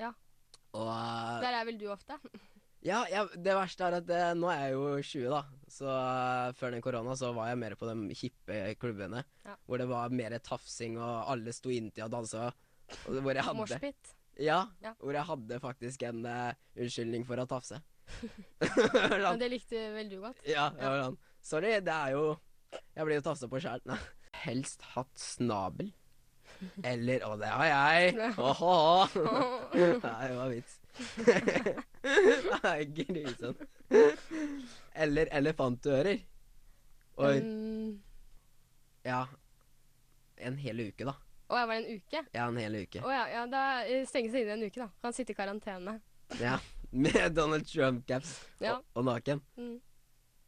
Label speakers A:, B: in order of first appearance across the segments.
A: Ja.
B: Og eh,
A: Der er vel du ofte?
B: ja, ja, det verste er at eh, nå er jeg jo 20, da. Så eh, før den korona så var jeg mer på de hippe klubbene.
A: Ja.
B: Hvor det var mer tafsing, og alle sto inntil og dansa. Og hvor jeg hadde
A: Moshpit.
B: Ja,
A: Ja.
B: hvor jeg hadde faktisk en eh, unnskyldning for å tafse.
A: Men det likte vel du godt?
B: Ja, jeg var sånn Sorry, det er jo Jeg blir jo tafsa på sjæl. Nei. Helst hatt snabel. Eller Å, det har jeg! Åhå! Nei, det var vits. Nei, grusomt. Eller elefantører. Oi.
A: Mm.
B: Ja. En hel uke, da.
A: Å ja, var det en uke?
B: Ja, en hel uke.
A: Å ja, ja, da eh, stenges det inne en uke, da. Han sitter i karantene.
B: Ja. Med Donald Trump-caps
A: Ja.
B: og, og naken.
A: Mm.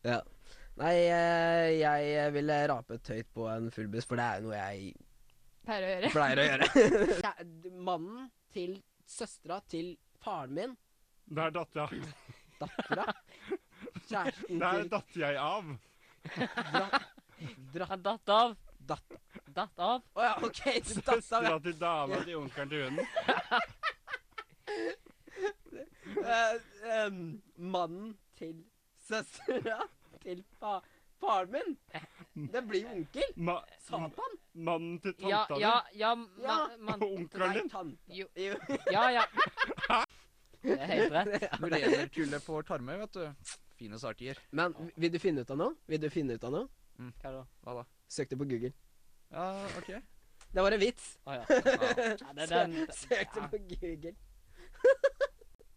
B: Ja. Nei, eh, jeg ville rapet høyt på en full buss, for det er jo noe jeg
A: Pleier å gjøre.
B: pleier å gjøre. Mannen til søstera til faren min,
C: Der datt jeg,
B: dattera, kjæresten
C: der
B: til
C: datt jeg av.
B: dra, dra,
D: Han datt av.
B: datt...
D: Datt av.
B: Å ja, OK, du datt av. ja.
C: Søstera til dama til onkelen til hunden.
B: Eh, em, mannen til søstera til fa faren min. Det blir jo onkel.
C: Ma
B: Satan.
C: mannen til
D: Ja,
C: tanta
D: ja, ja, ma,
B: Ja.
D: mann.
C: di. Onkelen din.
B: tante.
D: Jo,
B: Jo.
D: ja, ja. Det er helt rett.
E: Når det gjelder kulde på Tarmøy, vet du. Fine startier.
B: Men vil du finne ut av noe? Vil du finne ut av noe?
D: Hva da?
E: Hva da?
B: Søk det på Google.
E: Ja, OK.
B: Det var en vits.
D: Å ja.
E: Ja.
D: ja. Det, den,
B: Søkte
D: ja,
B: på Google.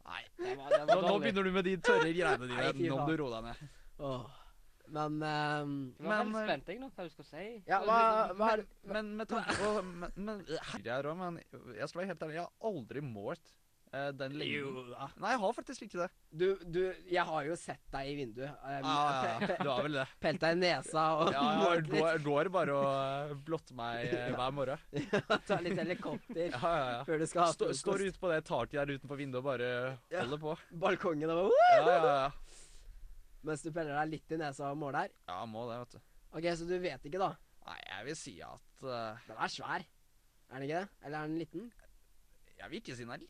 D: Nei, den var, den
E: Nå,
D: var
E: nå
D: dårlig.
E: begynner du med de tørre greiene
B: Nei, fy
E: dine. Nå må
B: faen.
E: du roe deg ned.
B: Åh. Men ehm,
D: Jeg var
E: Men,
D: veldig
E: eh,
D: spent jeg nå, hva du skulle si.
B: Ja, hva, hva er
E: Men med tanke på men, men, Herre er også, men jeg skal være helt ærlig, jeg har aldri målt eh, den lengden.
B: da.
E: Nei, jeg har faktisk ikke det.
B: Du, du, jeg har jo sett deg i vinduet. ehm,
E: Du har vel det.
B: Pelt deg i nesa og
E: Ah, Ja, jeg
B: målt litt.
E: går, går bare og eh, blotter meg eh, hver morgen.
B: Ta litt helikopter
E: Ja, ja, ja.
B: før du skal ha
E: Stå, står
B: frokost.
E: ute på det taket der utenfor vinduet og bare
B: Ja.
E: holder på.
B: Balkongen og bare,
E: Ja, ja, ja.
B: «Woo!» Mens du peller deg litt i nesa og måler.
E: Ja, må det, vet du.
B: OK, så du vet ikke, da.
E: Nei, jeg vil si at eh,
B: Den er svær. Er den ikke det? Eller er den liten?
E: Jeg vil ikke si nei.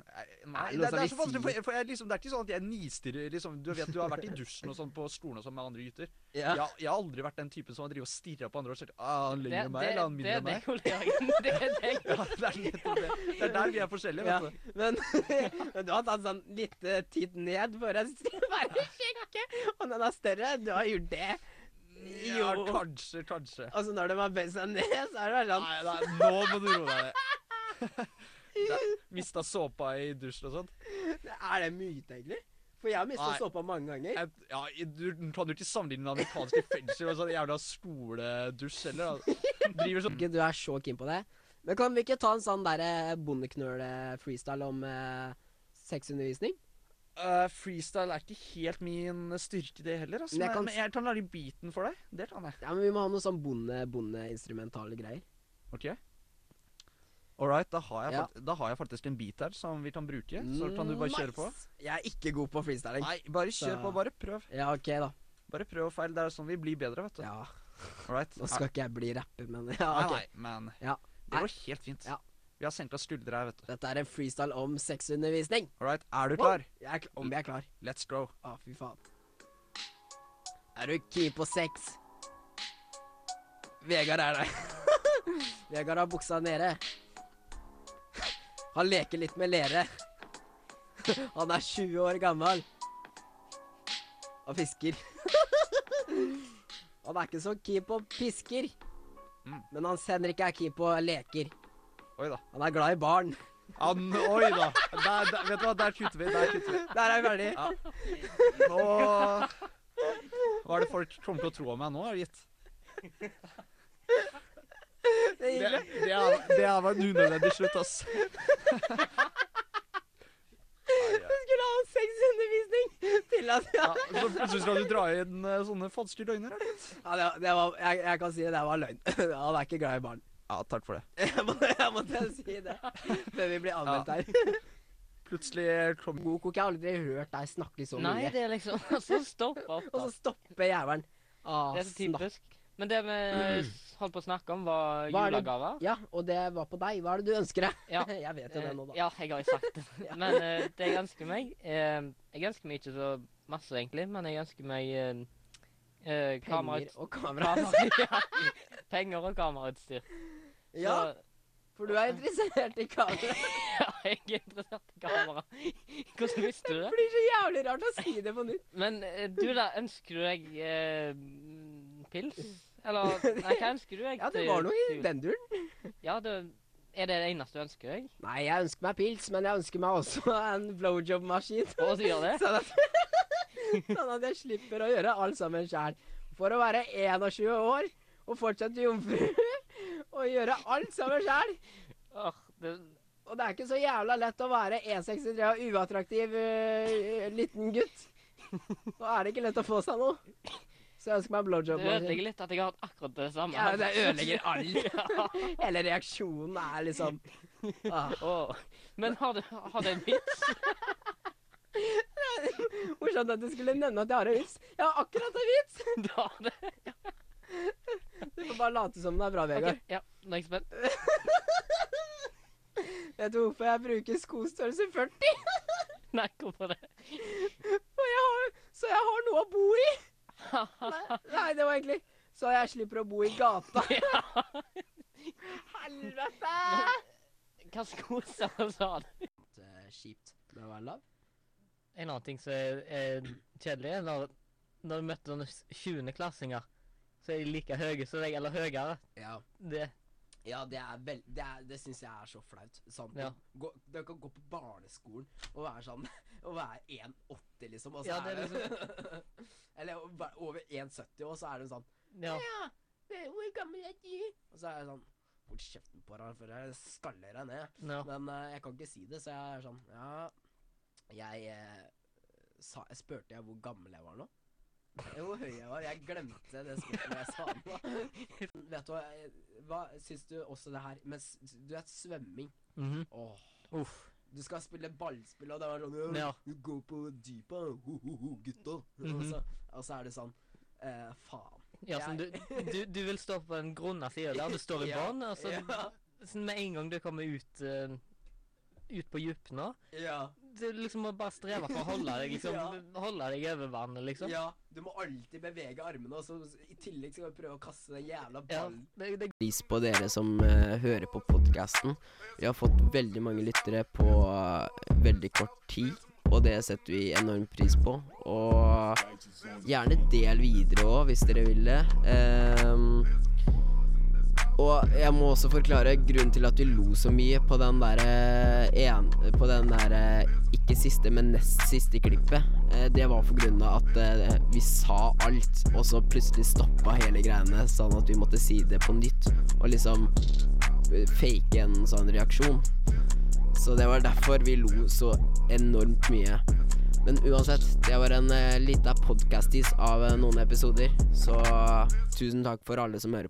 E: Nei,
B: Nei, altså,
E: det, det er
B: vi
E: så vanskelig, for,
B: sier-
E: jeg- for jeg, liksom, det er ikke sånn at jeg nistirrer. Liksom, du vet, du har vært i dusjen og sånn på skolen og sånn med andre gutter.
B: Ja.
E: Jeg, jeg har aldri vært den typen som har drevet og stirra på andre og sagt ah, han
D: Det,
E: ligner meg,
D: det,
E: eller han
D: det
E: minner
D: er
E: meg.
D: deg, kollegaen. Det er deg.
E: Ja, det er nettopp det. Det er der vi er forskjellige,
B: Ja.
E: vet du.
B: Men, men du har tatt sånn litt eh, titt ned for å bare sjekke om den er større. Du har gjort det.
E: Ja,
B: Jo.
E: kanskje, kanskje.
B: Og så når de har bøyd seg ned, så er det bare sånn
E: Nei, nei, nå må du roe deg ned. Det- Mista såpa i dusjen og sånn.
B: Er det myte, egentlig? For jeg har mista
E: Nei.
B: såpa mange ganger.
E: Jeg- Ja, i- du kan jo ikke sammenligne med amerikanske fengsler og sånn jævla skoledusj heller. Altså. Driver sånn
B: Ikke du er så keen på det. Men kan vi ikke ta en sånn derre bondeknøle-freestyle om eh, sexundervisning?
E: Eh, freestyle er ikke helt min styrke, det heller. Altså.
B: Men jeg
E: Men, jeg
B: kan-
E: men jeg kan lage beaten for deg. Det kan jeg.
B: Ja, men Vi må ha noe sånn bonde bondeinstrumentale greier.
E: Ok All right, da har, jeg
B: Ja.
E: fakt- da har jeg faktisk en beat her som vi kan bruke. Så kan du bare kjøre på.
B: Nice! Jeg er ikke god på freestyling.
E: Nei, bare kjør
B: Så-
E: på. Bare prøv.
B: Ja, OK, da.
E: Bare prøv og feil. Det er sånn vi blir bedre, vet du.
B: Ja,
E: All right.
B: Nå skal ikke jeg bli rapper, men ja,
E: Nei,
B: OK.
E: nei, men
B: Ja.
E: det går helt fint.
B: Ja.
E: Vi har senka skuldre her, vet du.
B: Dette er en freestyle om sexundervisning.
E: All right, er du klar?
B: Jeg er, kl- om jeg er klar.
E: Let's go.
B: Å, fy faen. Er du keen på sex? Vegard er der. Vegard har buksa nede. Han leker litt med lere. Han er 20 år gammel. Og fisker. Han er ikke så keen på pisker.
E: Mm.
B: Men Hans Henrik er keen på leker.
E: Oi da.
B: Han er glad i barn.
E: Ja, n- oi da. Der, der, vet du hva, der kutter vi. Der kutter vi.
B: Der er vi ferdig.
E: Ja. Nå Hva er det folk kommer til å tro om meg nå, gitt?
B: Det er
E: Det,
B: ille.
E: det, er, det er var en unødvendig slutt, ass.
B: Du skulle ha sexundervisning til at
E: Ja, så plutselig skal du dra inn eh, sånne falske løgner, eller?
B: Ja, det, det var, jeg, jeg kan si det, det var løgn. Han er ikke glad i barn.
E: Ja, takk for det.
B: Jeg måtte, jeg måtte si det før vi blir anmeldt
E: Ja.
B: her.
E: Plutselig eh, kom
B: Moko, jeg har aldri hørt deg snakke så
D: Nei,
B: mye.
D: det er liksom Og så stopper opp,
B: Og
D: da.
B: så stopper jævelen. Ah,
D: Det er så typisk. Men det med holdt på å snakke om, var
B: Hva er det-
D: julegaver.
B: Ja, og det var på deg. Hva er det du ønsker deg?
D: Ja.
B: Jeg vet jo det nå,
D: Eh,
B: da.
D: Ja, jeg har jo sagt det. Men eh, det jeg ønsker meg eh, Jeg ønsker meg ikke så masse, egentlig, men jeg ønsker meg eh, eh, kamera...
B: Penger og kamera.
D: kamera ja. Penger og kamerautstyr. Så-
B: Ja, for du er interessert i kamera.
D: ja, jeg er interessert i kamera. Hvordan visste du
B: Det
D: det?
B: blir så jævlig rart å si det på nytt.
D: Men eh, du, da, ønsker du deg eh, mm, pils? Eller Nei, hva ønsker du deg?
B: Ja, det
D: til-
B: var noe i
D: til-
B: den duren.
D: Ja, det, er det det eneste du ønsker deg?
B: Nei, jeg ønsker meg pils, men jeg ønsker meg også en blowjob-maskin.
D: Og du gjør det?
B: Sånn at, sånn at jeg slipper å gjøre alt sammen sjæl. For å være 21 år og fortsette jomfru og gjøre alt sammen sjæl.
D: Åh, det
B: Og det er ikke så jævla lett å være E63 og uattraktiv eh, liten gutt. Nå er det ikke lett å få seg noe. Så jeg ønsker meg
D: det
B: blowjob.
D: ødelegger litt at jeg har hatt akkurat det samme.
B: Ja, det ødelegger alt.
D: ja.
B: Hele reaksjonen er liksom ah.
D: Åh. Men har du har det en vits?
B: Morsomt at du skulle nevne at jeg har en vits. Jeg har akkurat en vits!
D: Du har det?
B: Du får bare late som den er bra, Vegard.
D: Ok, Ja, nå er jeg spent.
B: Vet du hvorfor jeg bruker skostørrelse 40?
D: Nei, hvorfor det?
B: Og jeg har, så jeg har noe å bo i. Nei, nei, det var egentlig Så jeg slipper å bo i gata.
D: Ja.
B: Helvete!
D: Hva skoser sa du?
B: eh, Kjipt med å være lav.
D: En annen ting som er, er kjedelig, er når, når du møter sånne 20.-klassinger, så er de like høye som deg, eller høyere.
B: Ja,
D: Det.
B: ja det, er vel- det, er- det syns jeg er så flaut. Sånn,
D: Ja.
B: gå, du kan gå på barneskolen og være sånn Og være 1,80, liksom. Og så er
D: Ja, det er liksom-
B: det, eller å være over 1,70, og så er det sånn
D: Ja.
B: Hvor gammel er du? Og så er det sånn Hold kjeften på deg, for jeg skaller deg ned.
D: ja.
B: Men eh, jeg kan ikke si det, så jeg er sånn Ja, jeg eh, sa, Spurte jeg hvor gammel jeg var nå? Eh, Hvor høy jeg var? Jeg glemte det spørsmålet jeg sa nå. Vet du hva, jeg- hva syns du også det her Men s- du vet svømming.
D: Mhm.
B: Åh.
D: Uff.
B: Du skal spille ballspill, og det er sånn
D: Ja.
B: Du går på dypet, ho, ho, ho, gutta. og,
D: Mhm.
B: så, og så er det sånn eh, Faen.
D: Ja, sånn, du, du, du vil stå på den grunne sida der, du står i
B: Ja,
D: bånn, og så
B: ja.
D: sånn med en gang du kommer ut eh, ut på dypet nå
B: Ja.
D: Du liksom må bare streve for å holde deg liksom,
B: Ja.
D: holde deg over vannet, liksom.
B: ja. Du må alltid bevege armene, og så i tillegg skal du prøve å kaste den jævla
D: Ja,
B: ballen.
D: det, det
B: pris på dere som eh, hører på podkasten. Vi har fått veldig mange lyttere på eh, veldig kort tid, og det setter vi enorm pris på. Og gjerne del videre òg, hvis dere vil det. Ehm, og jeg må også forklare grunnen til at vi lo så mye på den derre en- På den derre ikke siste, men nest siste klippet. Eh, Det var for grunn av at eh, vi sa alt, og så plutselig stoppa hele greiene sånn at vi måtte si det på nytt. Og liksom eh, fake en sånn reaksjon. Så det var derfor vi lo så enormt mye. Men uansett, det var eh, en uh, lita podkastis av eh, noen episoder, så tusen takk for alle som hører på.